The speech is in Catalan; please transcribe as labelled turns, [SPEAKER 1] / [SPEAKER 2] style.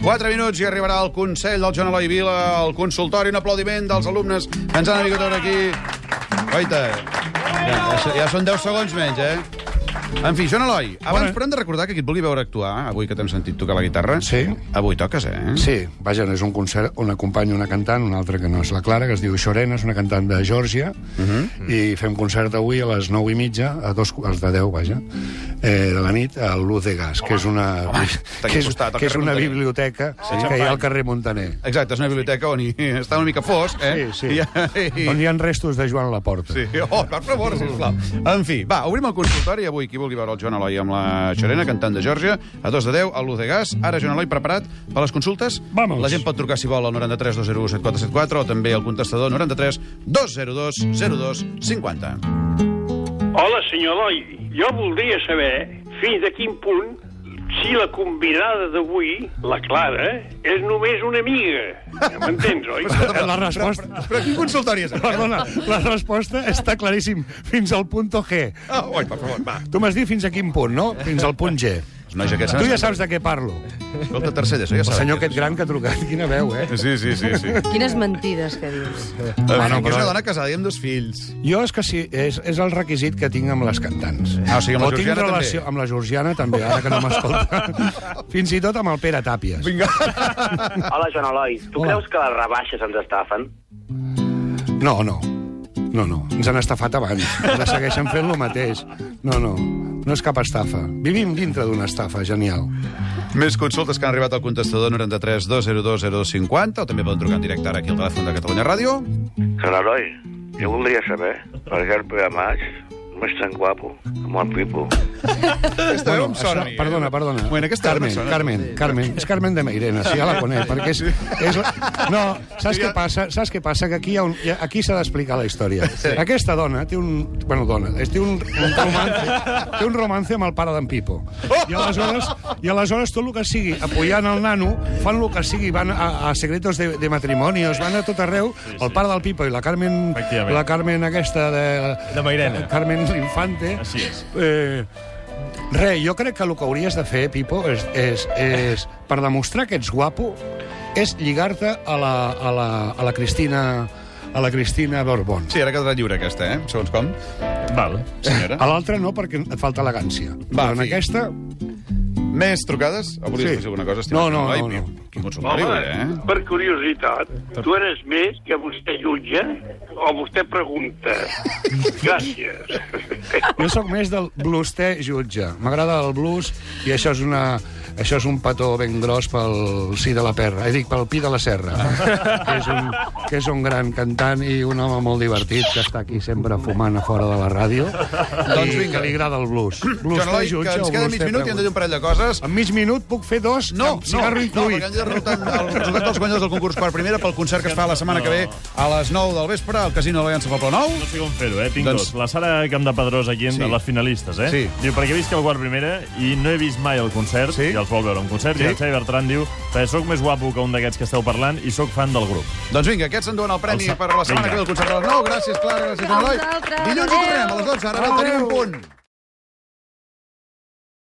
[SPEAKER 1] 4 minuts i arribarà el Consell del Joan Eloi Vila, el consultori, un aplaudiment dels alumnes que ens han vingut a veure aquí. Guaita, ja, ja, ja són 10 segons menys, eh? En fi, Joan Eloi, abans, però hem de recordar que qui et vulgui veure actuar, avui que t'hem sentit tocar la guitarra,
[SPEAKER 2] Sí.
[SPEAKER 1] avui toques, eh?
[SPEAKER 2] Sí, vaja, és un concert on acompanyo una cantant, una altra que no és la Clara, que es diu Xorena, és una cantant de Geòrgia,
[SPEAKER 1] Mhm.
[SPEAKER 2] i fem concert avui a les 9 i mitja, a dos, qu- als de 10, vaja, eh, de la nit, a Luz de Gas, que és una,
[SPEAKER 1] home,
[SPEAKER 2] que
[SPEAKER 1] aquí
[SPEAKER 2] és,
[SPEAKER 1] al costat, al
[SPEAKER 2] que és
[SPEAKER 1] carrer
[SPEAKER 2] una
[SPEAKER 1] Muntaner.
[SPEAKER 2] biblioteca
[SPEAKER 1] Sí.
[SPEAKER 2] que hi ha al carrer Montaner.
[SPEAKER 1] Exacte, és una biblioteca on hi està una mica fosc, eh?
[SPEAKER 2] Sí, sí.
[SPEAKER 1] I, i,
[SPEAKER 2] On hi ha restos de Joan Laporta.
[SPEAKER 1] Sí, oh, per favor, sisplau. En fi, va, obrim el consultori. Avui, qui vulgui veure el Joan Eloi amb la Xerena, cantant de Geòrgia, a dos de 10, a l'1 de gas. Ara, Joan Eloi, preparat per les consultes?
[SPEAKER 2] Vamos.
[SPEAKER 1] La gent pot trucar, si vol, al 93 201 7474 o també al contestador 93 202 02 50.
[SPEAKER 3] Hola, senyor Eloi. Jo voldria saber fins a quin punt si la convidada d'avui, la Clara, és només una amiga. Ja m'entens, oi?
[SPEAKER 2] Eh,
[SPEAKER 4] La resposta...
[SPEAKER 1] Però, però quin consultori és? aquest?
[SPEAKER 4] Perdona, la resposta està claríssim. Fins al punt G.
[SPEAKER 1] Ah, oi, per favor, va.
[SPEAKER 4] Tu m'has dit fins a quin punt, no? Fins al punt G.
[SPEAKER 1] Els nois aquests... eh?
[SPEAKER 4] Tu ja saps de què parlo.
[SPEAKER 1] Escolta, tercer d'ESO, ja
[SPEAKER 4] El
[SPEAKER 1] saben.
[SPEAKER 4] senyor aquest gran que ha trucat, quina veu, eh?
[SPEAKER 1] Sí, sí, sí. sí.
[SPEAKER 5] Quines mentides que dius.
[SPEAKER 1] Ah,
[SPEAKER 4] Bueno,
[SPEAKER 1] no, és
[SPEAKER 4] però-
[SPEAKER 1] una dona casada i amb dos fills.
[SPEAKER 4] Jo és que sí, és, és el requisit que tinc amb les cantants.
[SPEAKER 1] Ah, o sigui, amb la
[SPEAKER 4] o tinc
[SPEAKER 1] Georgiana
[SPEAKER 4] relació,
[SPEAKER 1] també.
[SPEAKER 4] Amb la Georgiana també, ara que no m'escolta. Fins i tot amb el Pere Tàpies.
[SPEAKER 1] Vinga.
[SPEAKER 6] Hola, Joan Eloi. Tu
[SPEAKER 4] Hola.
[SPEAKER 6] creus que les rebaixes ens estafen?
[SPEAKER 4] No, no. No, no. Ens han estafat abans. Ara segueixen fent lo mateix. No, no. No és cap estafa. Vivim dintre d'una estafa, genial.
[SPEAKER 1] Més consultes que han arribat al contestador 93 202 0250 o també poden trucar en directe ara aquí al telèfon de Catalunya Ràdio.
[SPEAKER 7] Joan Eloi, jo voldria saber per què el Pere Mas no és tan guapo com el Pipo.
[SPEAKER 1] Aquesta veu em sona. a mi,
[SPEAKER 4] això,
[SPEAKER 1] eh?
[SPEAKER 4] perdona, perdona.
[SPEAKER 1] Bueno, aquesta veu
[SPEAKER 4] Carmen,
[SPEAKER 1] em sona.
[SPEAKER 4] Carmen, Carmen. És Carmen de Mairena, sí, ja la conec, perquè és... és la... No, saps què passa? Saps què passa? Que aquí hi ha un... hi ha- aquí s'ha d'explicar la història.
[SPEAKER 1] Sí.
[SPEAKER 4] Aquesta dona té un... Bueno, dona, és, té un, un romance, té un romance amb el pare d'en Pipo. I aleshores, I aleshores tot el que sigui, apoyant el nano, fan el que sigui, van a, a secretos de, de matrimonios, van a tot arreu, el pare del Pipo i la Carmen,
[SPEAKER 8] Efectivament.
[SPEAKER 4] la Carmen aquesta de...
[SPEAKER 8] De Mairena.
[SPEAKER 4] Carmen Infante.
[SPEAKER 8] Així és.
[SPEAKER 4] Eh, Re, jo crec que el que hauries de fer, Pipo, és, és, és per demostrar que ets guapo, és lligar-te a la, a la, a la Cristina a la Cristina Borbón.
[SPEAKER 1] Sí, ara quedarà lliure aquesta, eh? Segons com.
[SPEAKER 8] Val.
[SPEAKER 1] Senyora.
[SPEAKER 4] A l'altra no, perquè et falta elegància.
[SPEAKER 1] Va,
[SPEAKER 4] Però en
[SPEAKER 1] sí.
[SPEAKER 4] aquesta...
[SPEAKER 1] Més trucades? O volies
[SPEAKER 4] Sí.
[SPEAKER 1] sí. alguna cosa?
[SPEAKER 4] No, no,
[SPEAKER 1] Ai,
[SPEAKER 4] no, no.
[SPEAKER 1] mi- Quin consultori,
[SPEAKER 3] Home,
[SPEAKER 1] eh?
[SPEAKER 3] per curiositat, tu eres més que vostè jutja o vostè pregunta. Gràcies.
[SPEAKER 4] Jo sóc més del blues té jutge. M'agrada el blues i això és, una, això és un petó ben gros pel sí de la perra. Eh, dic, pel pi de la serra. Que és, un, que és un gran cantant i un home molt divertit que està aquí sempre fumant a fora de la ràdio.
[SPEAKER 1] Doncs
[SPEAKER 4] I
[SPEAKER 1] vinga.
[SPEAKER 4] que li agrada el blues. Blues
[SPEAKER 1] Joan
[SPEAKER 4] té
[SPEAKER 1] Eloi,
[SPEAKER 4] jutge
[SPEAKER 1] que ens
[SPEAKER 4] o
[SPEAKER 1] queda
[SPEAKER 4] blues
[SPEAKER 1] mig
[SPEAKER 4] té
[SPEAKER 1] minut i hem de dir
[SPEAKER 4] pregunta?
[SPEAKER 1] un parell de coses.
[SPEAKER 4] En mig minut puc fer dos
[SPEAKER 1] No,
[SPEAKER 4] amb
[SPEAKER 1] no,
[SPEAKER 4] cigarro
[SPEAKER 1] no,
[SPEAKER 4] inclòs.
[SPEAKER 1] perquè hem de derrotar el resultat dels guanyadors del concurs per primera pel concert que es fa la setmana que ve a les 9 del vespre al Casino de l'Aliança Poble Nou.
[SPEAKER 8] No sé com fer-ho, eh? Tinc
[SPEAKER 1] Doncs-
[SPEAKER 8] doncs... dos. La Sara Camp de Pedrós, aquí, sí.
[SPEAKER 1] Sí.
[SPEAKER 8] de les finalistes, eh?
[SPEAKER 1] Sí.
[SPEAKER 8] Diu, perquè he vist que el guard primera i no he vist mai el concert,
[SPEAKER 1] Sí.
[SPEAKER 8] i els vol veure un concert,
[SPEAKER 1] Sí.
[SPEAKER 8] i el Xavi Bertran diu perquè sóc més guapo que un d'aquests que esteu parlant i sóc fan del grup.
[SPEAKER 1] Doncs vinga, aquests s'enduen el premi
[SPEAKER 8] El sa-
[SPEAKER 1] per la setmana
[SPEAKER 8] Vinga.
[SPEAKER 1] que ve del concert de les 9. Gràcies, Clara, gràcies, Joan Eloi.
[SPEAKER 5] A vosaltres,
[SPEAKER 1] Dilluns hi
[SPEAKER 5] adéu.
[SPEAKER 1] tornem a les 12. Ara va tenir un punt.